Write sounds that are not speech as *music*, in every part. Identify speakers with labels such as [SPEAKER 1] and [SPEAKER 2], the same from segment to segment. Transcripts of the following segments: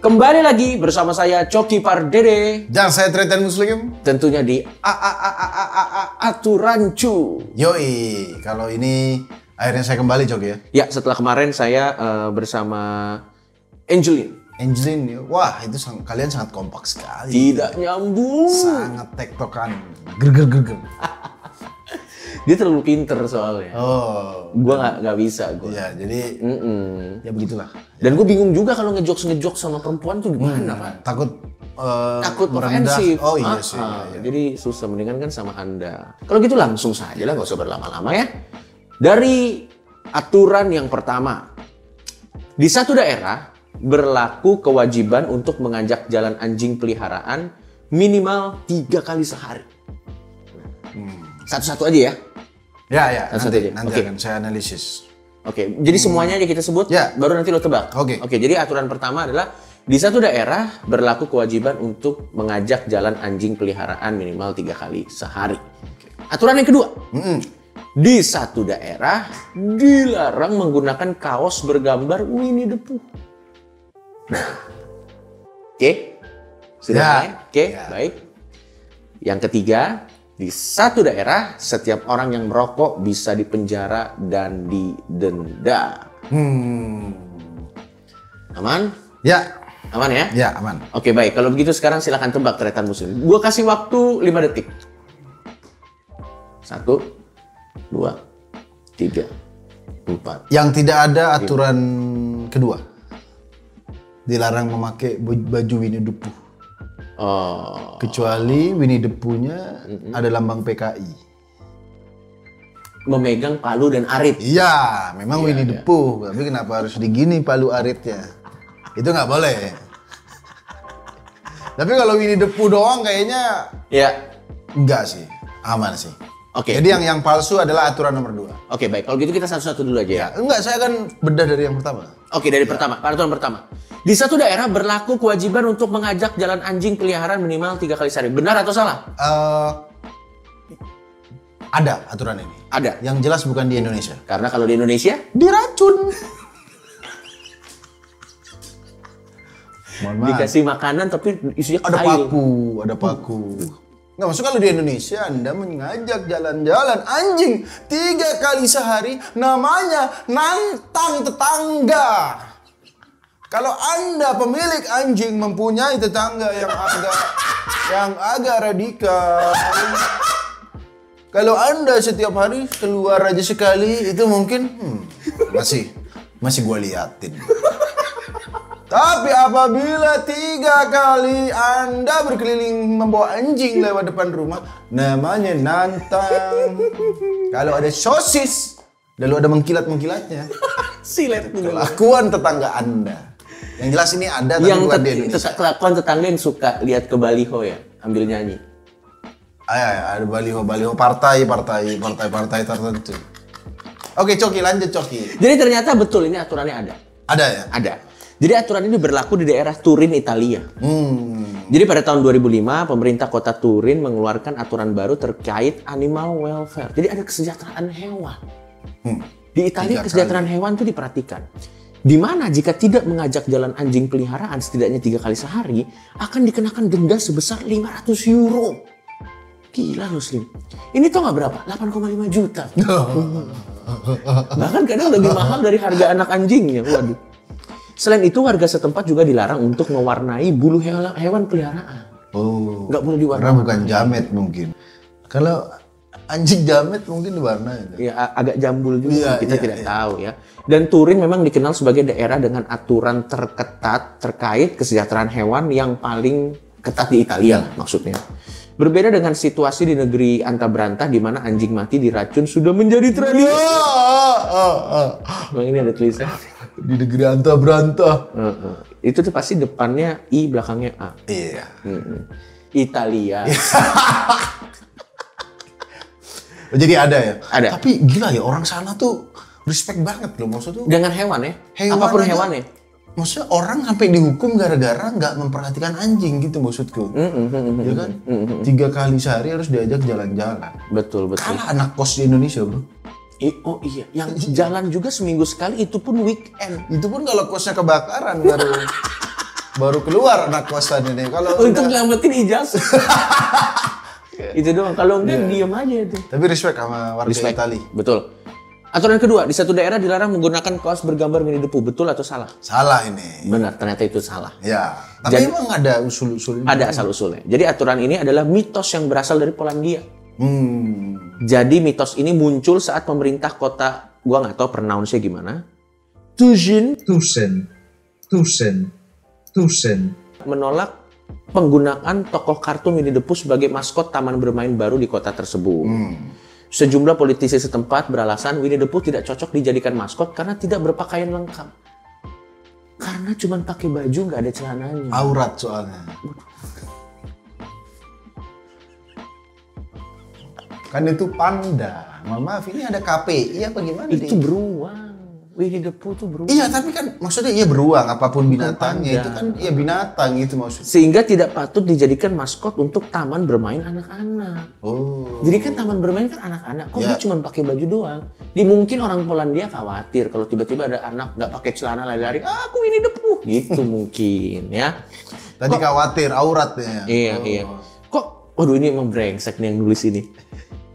[SPEAKER 1] Kembali lagi bersama saya Coki Pardede,
[SPEAKER 2] Dan saya Tretan Muslim.
[SPEAKER 1] tentunya di
[SPEAKER 2] A a a a a a a.
[SPEAKER 1] Aturancu.
[SPEAKER 2] Yoi, kalau ini akhirnya saya kembali Jok ya.
[SPEAKER 1] Ya, setelah kemarin saya eh, bersama Angelin.
[SPEAKER 2] Angelin, ya. wah itu sang- kalian sangat kompak sekali.
[SPEAKER 1] Tidak nyambung.
[SPEAKER 2] Sangat tektokan. Ger ger ger ger.
[SPEAKER 1] Dia terlalu pinter soalnya.
[SPEAKER 2] Oh.
[SPEAKER 1] Gua nggak nggak bisa gua.
[SPEAKER 2] Ya, jadi
[SPEAKER 1] Mm-mm.
[SPEAKER 2] ya begitulah.
[SPEAKER 1] Dan gue bingung juga kalau ngejokes ngejokes sama perempuan tuh gimana, Pak?
[SPEAKER 2] Takut eh,
[SPEAKER 1] Takut
[SPEAKER 2] merendah.
[SPEAKER 1] ofensif.
[SPEAKER 2] Oh
[SPEAKER 1] Ah,
[SPEAKER 2] iya sih.
[SPEAKER 1] ah.
[SPEAKER 2] iya, iya.
[SPEAKER 1] Jadi susah mendingan kan sama Anda. Kalau gitu langsung saja lah, nggak usah berlama-lama ya. Dari aturan yang pertama, di satu daerah berlaku kewajiban untuk mengajak jalan anjing peliharaan minimal tiga kali sehari. Nah,
[SPEAKER 2] Hmm.
[SPEAKER 1] Satu-satu aja ya.
[SPEAKER 2] Ya ya,
[SPEAKER 1] Langsung
[SPEAKER 2] nanti
[SPEAKER 1] aja.
[SPEAKER 2] nanti
[SPEAKER 1] Oke.
[SPEAKER 2] akan saya analisis.
[SPEAKER 1] Oke, jadi semuanya aja kita sebut,
[SPEAKER 2] Hmm. Ya.
[SPEAKER 1] baru nanti lo tebak.
[SPEAKER 2] Oke.
[SPEAKER 1] Oke, jadi aturan pertama adalah di satu daerah berlaku kewajiban untuk mengajak jalan anjing peliharaan minimal tiga kali sehari. Aturan yang kedua,
[SPEAKER 2] Mm-mm.
[SPEAKER 1] di satu daerah dilarang menggunakan kaos bergambar Winnie the Pooh. Nah. Oke, sudah
[SPEAKER 2] Ya.
[SPEAKER 1] mulai? Oke,
[SPEAKER 2] Ya.
[SPEAKER 1] baik. Yang ketiga, di satu daerah setiap orang yang merokok bisa dipenjara dan didenda.
[SPEAKER 2] Hmm.
[SPEAKER 1] Aman?
[SPEAKER 2] Ya,
[SPEAKER 1] Aman ya?
[SPEAKER 2] ya aman.
[SPEAKER 1] Oke baik, kalau begitu sekarang silahkan tebak tretan musim. Gua kasih waktu 5 detik. Satu, dua, tiga, empat.
[SPEAKER 2] Yang tidak ada aturan kedua. Dilarang memakai bu- baju Winnie the Pooh.
[SPEAKER 1] Oh,
[SPEAKER 2] Kecuali Winnie the Pooh-nya ada lambang PKI.
[SPEAKER 1] memegang palu dan arit.
[SPEAKER 2] Iya, memang Winnie the Pooh. Tapi kenapa harus digini palu aritnya? Itu nggak boleh. Tapi kalau Winnie the Pooh doang kayaknya
[SPEAKER 1] Ya,
[SPEAKER 2] enggak sih. Aman sih.
[SPEAKER 1] Oke.
[SPEAKER 2] Jadi yang yang palsu adalah aturan nomor dua.
[SPEAKER 1] oke baik. Kalau gitu kita satu-satu dulu aja ya.
[SPEAKER 2] Enggak, saya kan bedah dari yang pertama.
[SPEAKER 1] Oke dari pertama, peraturan pertama. Di satu daerah berlaku kewajiban untuk mengajak jalan anjing peliharaan minimal tiga kali sehari. Benar atau salah?
[SPEAKER 2] Eh, ada aturan ini.
[SPEAKER 1] Ada.
[SPEAKER 2] Yang jelas bukan di Indonesia.
[SPEAKER 1] Karena kalau di Indonesia,
[SPEAKER 2] Diracun. Mohon maaf.
[SPEAKER 1] dikasih makanan tapi isinya
[SPEAKER 2] Ada
[SPEAKER 1] kayu.
[SPEAKER 2] paku, ada paku. Nggak masuk kalau di Indonesia Anda mengajak jalan-jalan anjing tiga kali sehari namanya nantang tetangga. Kalau Anda pemilik anjing mempunyai tetangga yang agak yang agak radikal. Kalau Anda setiap hari keluar aja sekali itu mungkin hmm, masih masih gua liatin. Tapi apabila tiga kali Anda berkeliling membawa anjing lewat depan rumah, namanya nantang. Kalau ada sosis, lalu ada mengkilat-mengkilatnya.
[SPEAKER 1] Silet dulu.
[SPEAKER 2] Kelakuan tetangga Anda. Yang jelas ini ada tapi
[SPEAKER 1] yang
[SPEAKER 2] bukan di
[SPEAKER 1] tet-
[SPEAKER 2] Indonesia.
[SPEAKER 1] tet- kelakuan tetangga yang suka lihat ke baliho ya ambil nyanyi
[SPEAKER 2] Ay, ay, ada baliho-baliho partai, partai, partai-partai tertentu. Oke, Coki lanjut Coki.
[SPEAKER 1] jadi ternyata betul ini aturannya ada
[SPEAKER 2] Ada ya?
[SPEAKER 1] ada jadi aturan ini berlaku di daerah Turin Italia
[SPEAKER 2] Hmm.
[SPEAKER 1] jadi pada tahun 2005 pemerintah kota Turin mengeluarkan aturan baru terkait animal welfare jadi ada kesejahteraan hewan
[SPEAKER 2] Hmm.
[SPEAKER 1] di Italia
[SPEAKER 2] Tiga
[SPEAKER 1] kesejahteraan hewan itu diperhatikan di mana jika tidak mengajak jalan anjing peliharaan setidaknya tiga kali sehari akan dikenakan denda sebesar 500 euro gila lu Slim ini tau nggak berapa 8,5 juta
[SPEAKER 2] hmm.
[SPEAKER 1] Bahkan kadang
[SPEAKER 2] *laughs*
[SPEAKER 1] lebih mahal dari harga anak anjingnya. Waduh. Selain itu warga setempat juga dilarang untuk mewarnai bulu hewan, hewan peliharaan.
[SPEAKER 2] Oh.
[SPEAKER 1] Nggak boleh
[SPEAKER 2] Karena
[SPEAKER 1] diwarnai.
[SPEAKER 2] bukan jamet mungkin. Kalau anjing jamet mungkin diwarnai.
[SPEAKER 1] Ya a- agak jambul juga
[SPEAKER 2] Iya,
[SPEAKER 1] kita
[SPEAKER 2] iya,
[SPEAKER 1] tidak
[SPEAKER 2] iya.
[SPEAKER 1] tahu ya. Dan Turin memang dikenal sebagai daerah dengan aturan terketat terkait kesejahteraan hewan yang paling ketat di Italia lah maksudnya. Berbeda dengan situasi di negeri anta berantah di mana anjing mati diracun sudah menjadi tradisi.
[SPEAKER 2] Oh, oh, oh.
[SPEAKER 1] Bang, ini ada tulisan.
[SPEAKER 2] Di negeri anta berantah.
[SPEAKER 1] Heeh. Itu tuh pasti depannya i belakangnya a.
[SPEAKER 2] Iya.
[SPEAKER 1] Mm-mm. Italia.
[SPEAKER 2] Jadi ada ya.
[SPEAKER 1] Ada.
[SPEAKER 2] Tapi gila ya orang sana tuh respect banget loh maksud tuh.
[SPEAKER 1] Dengan hewan ya?
[SPEAKER 2] Hewan
[SPEAKER 1] Apapun
[SPEAKER 2] aja.
[SPEAKER 1] hewannya.
[SPEAKER 2] Maksudnya orang sampai dihukum gara-gara nggak memperhatikan anjing gitu maksudku. Ya kan? Tiga kali sehari harus diajak jalan-jalan.
[SPEAKER 1] Betul, betul.
[SPEAKER 2] Kalah anak kos di Indonesia bro.
[SPEAKER 1] I- oh iya, yang
[SPEAKER 2] Eh,
[SPEAKER 1] jalan juga seminggu sekali itu pun weekend. *laughs*
[SPEAKER 2] Itu pun kalau kosnya kebakaran baru baru keluar anak kosan ini. Kalau
[SPEAKER 1] Untuk
[SPEAKER 2] udah-
[SPEAKER 1] nyelamatin
[SPEAKER 2] *laughs*
[SPEAKER 1] ijazah. itu doang. Kalau enggak
[SPEAKER 2] Iya.
[SPEAKER 1] diam aja itu.
[SPEAKER 2] tapi respect sama warga
[SPEAKER 1] Respect.
[SPEAKER 2] Itali.
[SPEAKER 1] Betul. Aturan kedua, di satu daerah dilarang menggunakan kaos bergambar mini debu. Betul atau salah?
[SPEAKER 2] Salah ini.
[SPEAKER 1] Benar, ternyata itu salah.
[SPEAKER 2] Ya. Tapi
[SPEAKER 1] Jadi-
[SPEAKER 2] emang ada usul-usulnya.
[SPEAKER 1] Ada asal usulnya. Jadi aturan ini adalah mitos yang berasal dari Polandia.
[SPEAKER 2] Hmm.
[SPEAKER 1] Jadi mitos ini muncul saat pemerintah kota gua nggak tahu pronounce-nya gimana. Tuzin
[SPEAKER 3] Tusen, Tusen, Tusen,
[SPEAKER 1] menolak penggunaan tokoh kartun mini debu sebagai maskot taman bermain baru di kota tersebut. Sejumlah politisi setempat beralasan Winnie the Pooh tidak cocok dijadikan maskot karena tidak berpakaian lengkap. Karena cuma pakai baju nggak ada celananya.
[SPEAKER 2] Aurat soalnya. Kan itu panda. Mohon maaf, ini ada KPI apa gimana?
[SPEAKER 1] itu
[SPEAKER 2] Di?
[SPEAKER 1] beruang. Winnie the Pooh tuh beruang.
[SPEAKER 2] Iya, tapi kan maksudnya iya beruang apapun binatangnya itu kan iya binatang itu maksudnya.
[SPEAKER 1] Sehingga tidak patut dijadikan maskot untuk taman bermain anak-anak.
[SPEAKER 2] Oh.
[SPEAKER 1] Jadi kan taman bermain kan anak-anak, kok dia
[SPEAKER 2] Ya.
[SPEAKER 1] cuma pakai baju doang? Di mungkin orang Polandia khawatir kalau tiba-tiba ada anak nggak pakai celana lari-lari, "Ah, aku ini depuh gitu mungkin ya.
[SPEAKER 2] Tadi khawatir auratnya.
[SPEAKER 1] Iya
[SPEAKER 2] Oh.
[SPEAKER 1] iya. Kok, waduh ini emang brengsek nih yang nulis ini.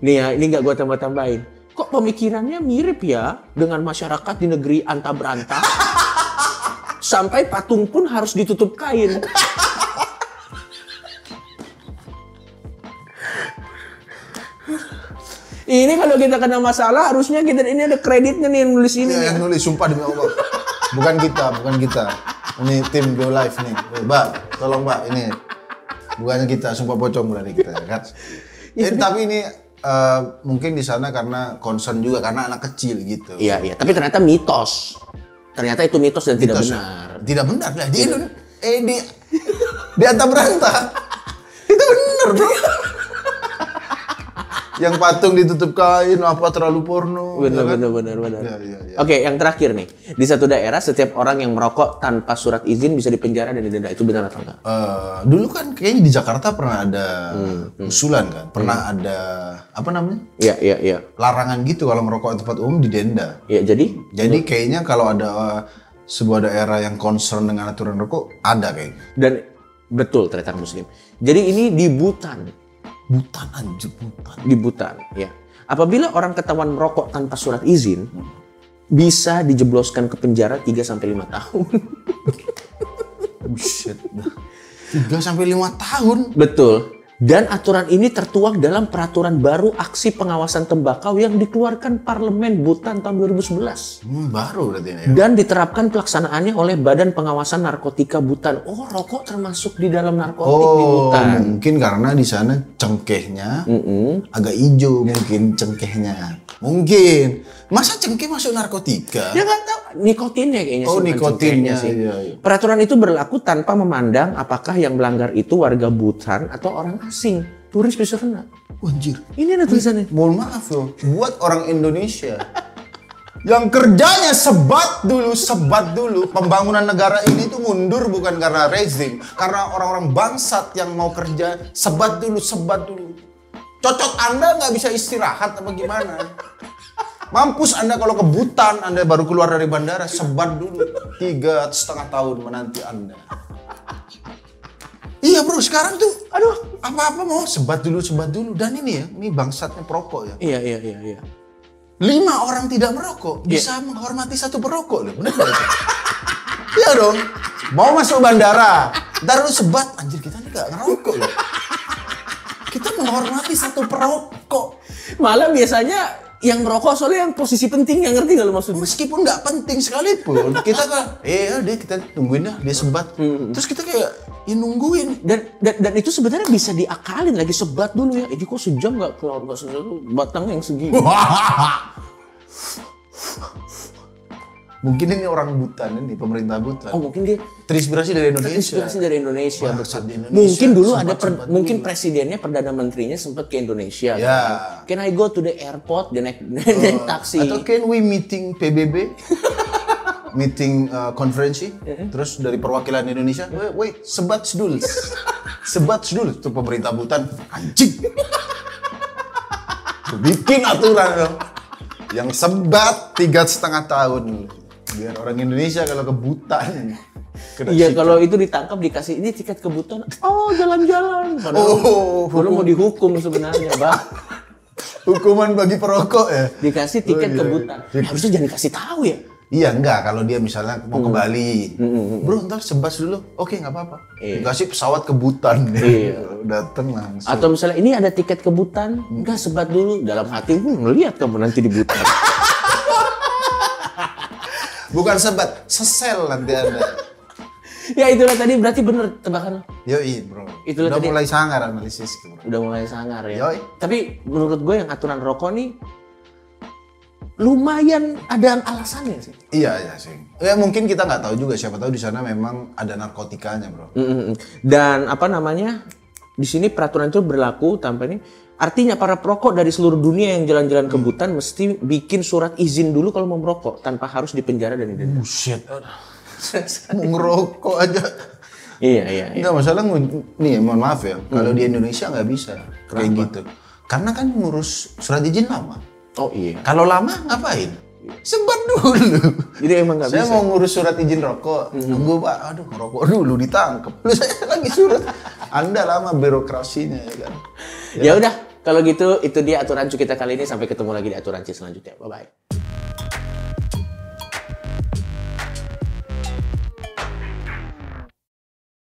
[SPEAKER 1] Nih ya, ini nggak gua tambah-tambahin. Kok pemikirannya mirip ya dengan masyarakat di negeri anta beranta? Sampai patung pun harus ditutup kain. ini kalau kita kena masalah harusnya kita ini ada kreditnya nih yang nulis ini.
[SPEAKER 2] Ini
[SPEAKER 1] nih.
[SPEAKER 2] yang nulis sumpah demi Allah. Bukan kita, bukan kita. Ini tim Go Live nih. Mbak, tolong Mbak ini. Bukan kita, sumpah pocong dari kita kan. Eh, tapi ini eh, mungkin di sana karena concern juga karena anak kecil gitu.
[SPEAKER 1] Iya iya, tapi ternyata mitos. Ternyata itu mitos dan tidak
[SPEAKER 2] Mitos.
[SPEAKER 1] benar. Iya.
[SPEAKER 2] Tidak benar lah di Indon- eh di di Anta Beranta. Itu benar,
[SPEAKER 1] *laughs*
[SPEAKER 2] Bro. yang patung ditutup kain apa terlalu porno.
[SPEAKER 1] Benar,
[SPEAKER 2] ya kan?
[SPEAKER 1] benar, benar, benar.
[SPEAKER 2] Iya, iya, iya.
[SPEAKER 1] Oke, yang terakhir nih. Di satu daerah, setiap orang yang merokok tanpa surat izin bisa dipenjara dan didenda. Itu benar atau enggak?
[SPEAKER 2] Eh, dulu kan kayaknya di Jakarta pernah ada
[SPEAKER 1] Hmm,
[SPEAKER 2] usulan kan, pernah ada apa namanya
[SPEAKER 1] Iya, iya, iya.
[SPEAKER 2] larangan gitu kalau merokok di tempat umum didenda.
[SPEAKER 1] Iya, jadi?
[SPEAKER 2] Jadi kayaknya kalau ada eh, sebuah daerah yang concern dengan aturan rokok ada kayaknya.
[SPEAKER 1] Dan betul ternyata muslim. Jadi ini di Butan.
[SPEAKER 2] Butan anjir butan.
[SPEAKER 1] Di Butan, ya. Apabila orang ketahuan merokok tanpa surat izin, bisa dijebloskan ke penjara 3-5 tahun. *laughs*
[SPEAKER 2] Buset. Oh, Tiga sampai lima tahun.
[SPEAKER 1] betul. Dan aturan ini tertuang dalam peraturan baru aksi pengawasan tembakau yang dikeluarkan Parlemen Butan tahun 2011.
[SPEAKER 2] Hmm, baru berarti ini ya.
[SPEAKER 1] dan diterapkan pelaksanaannya oleh Badan Pengawasan Narkotika Butan. Oh, rokok termasuk di dalam narkotik di
[SPEAKER 2] Oh,
[SPEAKER 1] Butan.
[SPEAKER 2] mungkin karena di sana cengkehnya
[SPEAKER 1] Mm-mm.
[SPEAKER 2] agak hijau mungkin cengkehnya. Mungkin. Masa cengkeh masuk narkotika?
[SPEAKER 1] Dia Ya, nggak tahu nikotinnya kayaknya
[SPEAKER 2] Oh,
[SPEAKER 1] bukan cengkehnya
[SPEAKER 2] nikotinnya,
[SPEAKER 1] sih.
[SPEAKER 2] iya, iya.
[SPEAKER 1] Peraturan itu berlaku tanpa memandang apakah yang melanggar itu warga Butan atau orang asing. Turis bisa kena.
[SPEAKER 2] Wah, Anjir.
[SPEAKER 1] Ini ada tulisannya.
[SPEAKER 2] Mohon maaf loh, buat orang Indonesia yang kerjanya sebat dulu, sebat dulu. Pembangunan negara ini tuh mundur bukan karena rezim, karena orang-orang bangsat yang mau kerja sebat dulu, sebat dulu. Cocot Anda nggak bisa istirahat apa gimana? Mampus Anda kalau ke Butan, Anda baru keluar dari bandara, sebat dulu. Tiga setengah tahun menanti Anda. Iya bro, sekarang tuh, aduh, apa-apa mau sebat dulu, sebat dulu. Dan ini ya, ini bangsatnya perokok ya.
[SPEAKER 1] Iya, iya, iya, iya.
[SPEAKER 2] Lima orang tidak merokok bisa menghormati satu perokok loh, bener nggak itu? *laughs* Iya dong. Mau masuk bandara, ntar lu sebat, anjir kita nih nggak ngerokok loh. Kita menghormati satu perokok.
[SPEAKER 1] Malah biasanya yang merokok soalnya yang posisi penting yang ngerti nggak lo maksudnya?
[SPEAKER 2] meskipun nggak penting sekalipun kita kan eh dia kita tungguin dah dia sebat terus kita kayak ya
[SPEAKER 1] *laughs*
[SPEAKER 2] nungguin
[SPEAKER 1] Dan, dan dan itu sebenarnya bisa diakalin lagi sebat dulu ya. Ini kok sejam nggak keluar nggak sesuatu batang yang segini.
[SPEAKER 2] mungkin ini orang butan ini pemerintah butan
[SPEAKER 1] Oh mungkin dia
[SPEAKER 2] terinspirasi dari Indonesia
[SPEAKER 1] inspirasi dari Indonesia.
[SPEAKER 2] Wah,
[SPEAKER 1] betul.
[SPEAKER 2] di Indonesia
[SPEAKER 1] Mungkin dulu
[SPEAKER 2] sempat-
[SPEAKER 1] ada per-
[SPEAKER 2] sempat
[SPEAKER 1] mungkin presidennya perdana menterinya sempat ke Indonesia. kan?
[SPEAKER 2] Ya. Oh,
[SPEAKER 1] Can I go to the airport? Dia naik, *laughs* naik taksi.
[SPEAKER 2] atau can we meeting
[SPEAKER 1] *laughs*
[SPEAKER 2] PBB meeting uh, konferensi
[SPEAKER 1] Iya.
[SPEAKER 2] terus dari perwakilan Indonesia wait, wait sebat dulu sebat dulu tuh pemerintah Butan anjing bikin aturan loh yang sebat tiga setengah tahun biar orang Indonesia kalau ke Butan Kena
[SPEAKER 1] Iya
[SPEAKER 2] sikat.
[SPEAKER 1] kalau itu ditangkap dikasih ini tiket kebutuhan. Oh jalan-jalan. Padahal
[SPEAKER 2] Oh,
[SPEAKER 1] padahal mau dihukum sebenarnya, Bang.
[SPEAKER 2] Hukuman bagi perokok ya.
[SPEAKER 1] Dikasih tiket
[SPEAKER 2] iya,
[SPEAKER 1] kebutuhan. Ya, harusnya jangan dikasih tahu ya.
[SPEAKER 2] Iya enggak kalau dia misalnya mau
[SPEAKER 1] Hmm.
[SPEAKER 2] ke Bali, bro ntar sebas dulu, oke nggak apa-apa.
[SPEAKER 1] Iya.
[SPEAKER 2] Dikasih pesawat ke Butan,
[SPEAKER 1] Iya.
[SPEAKER 2] *laughs* datang langsung.
[SPEAKER 1] Atau misalnya ini ada tiket kebutan, enggak sebat dulu dalam hati gue ngelihat kamu nanti di butan.
[SPEAKER 2] *laughs* Bukan sebat, sesel nanti
[SPEAKER 1] *laughs*
[SPEAKER 2] ada.
[SPEAKER 1] ya itulah tadi berarti bener tebakan lo.
[SPEAKER 2] Yoi bro,
[SPEAKER 1] Itulah
[SPEAKER 2] udah
[SPEAKER 1] tadi.
[SPEAKER 2] mulai sangar analisis bro.
[SPEAKER 1] udah mulai sangar ya.
[SPEAKER 2] Yoi.
[SPEAKER 1] Tapi menurut gue yang aturan rokok nih lumayan ada alasannya sih.
[SPEAKER 2] Iya iya sih. Ya mungkin kita nggak tahu juga siapa tahu di sana memang ada narkotikanya bro.
[SPEAKER 1] Mm-mm. Dan apa namanya? Di sini peraturan itu berlaku tanpa ini. Artinya para perokok dari seluruh dunia yang jalan-jalan ke Butan mesti bikin surat izin dulu kalau mau merokok tanpa harus dipenjara dan didenda. *laughs*
[SPEAKER 2] Buset, mau ngerokok aja.
[SPEAKER 1] iya, iya, Hmm. iya.
[SPEAKER 2] Enggak masalah ngun- nih mohon maaf ya, kalau di Indonesia nggak bisa kayak gitu. Karena kan ngurus surat izin lama.
[SPEAKER 1] Oh iya.
[SPEAKER 2] Kalau lama ngapain? Sebat dulu.
[SPEAKER 1] Jadi emang nggak
[SPEAKER 2] saya
[SPEAKER 1] bisa. Mm-hmm.
[SPEAKER 2] mau ngurus surat izin rokok. Nunggu pak, aduh rokok dulu ditangkep. Lu saya lagi surat. Anda lama birokrasinya ya kan.
[SPEAKER 1] Ya udah, kalau gitu itu dia aturan cu kita kali ini sampai ketemu lagi di aturan C selanjutnya. Bye bye.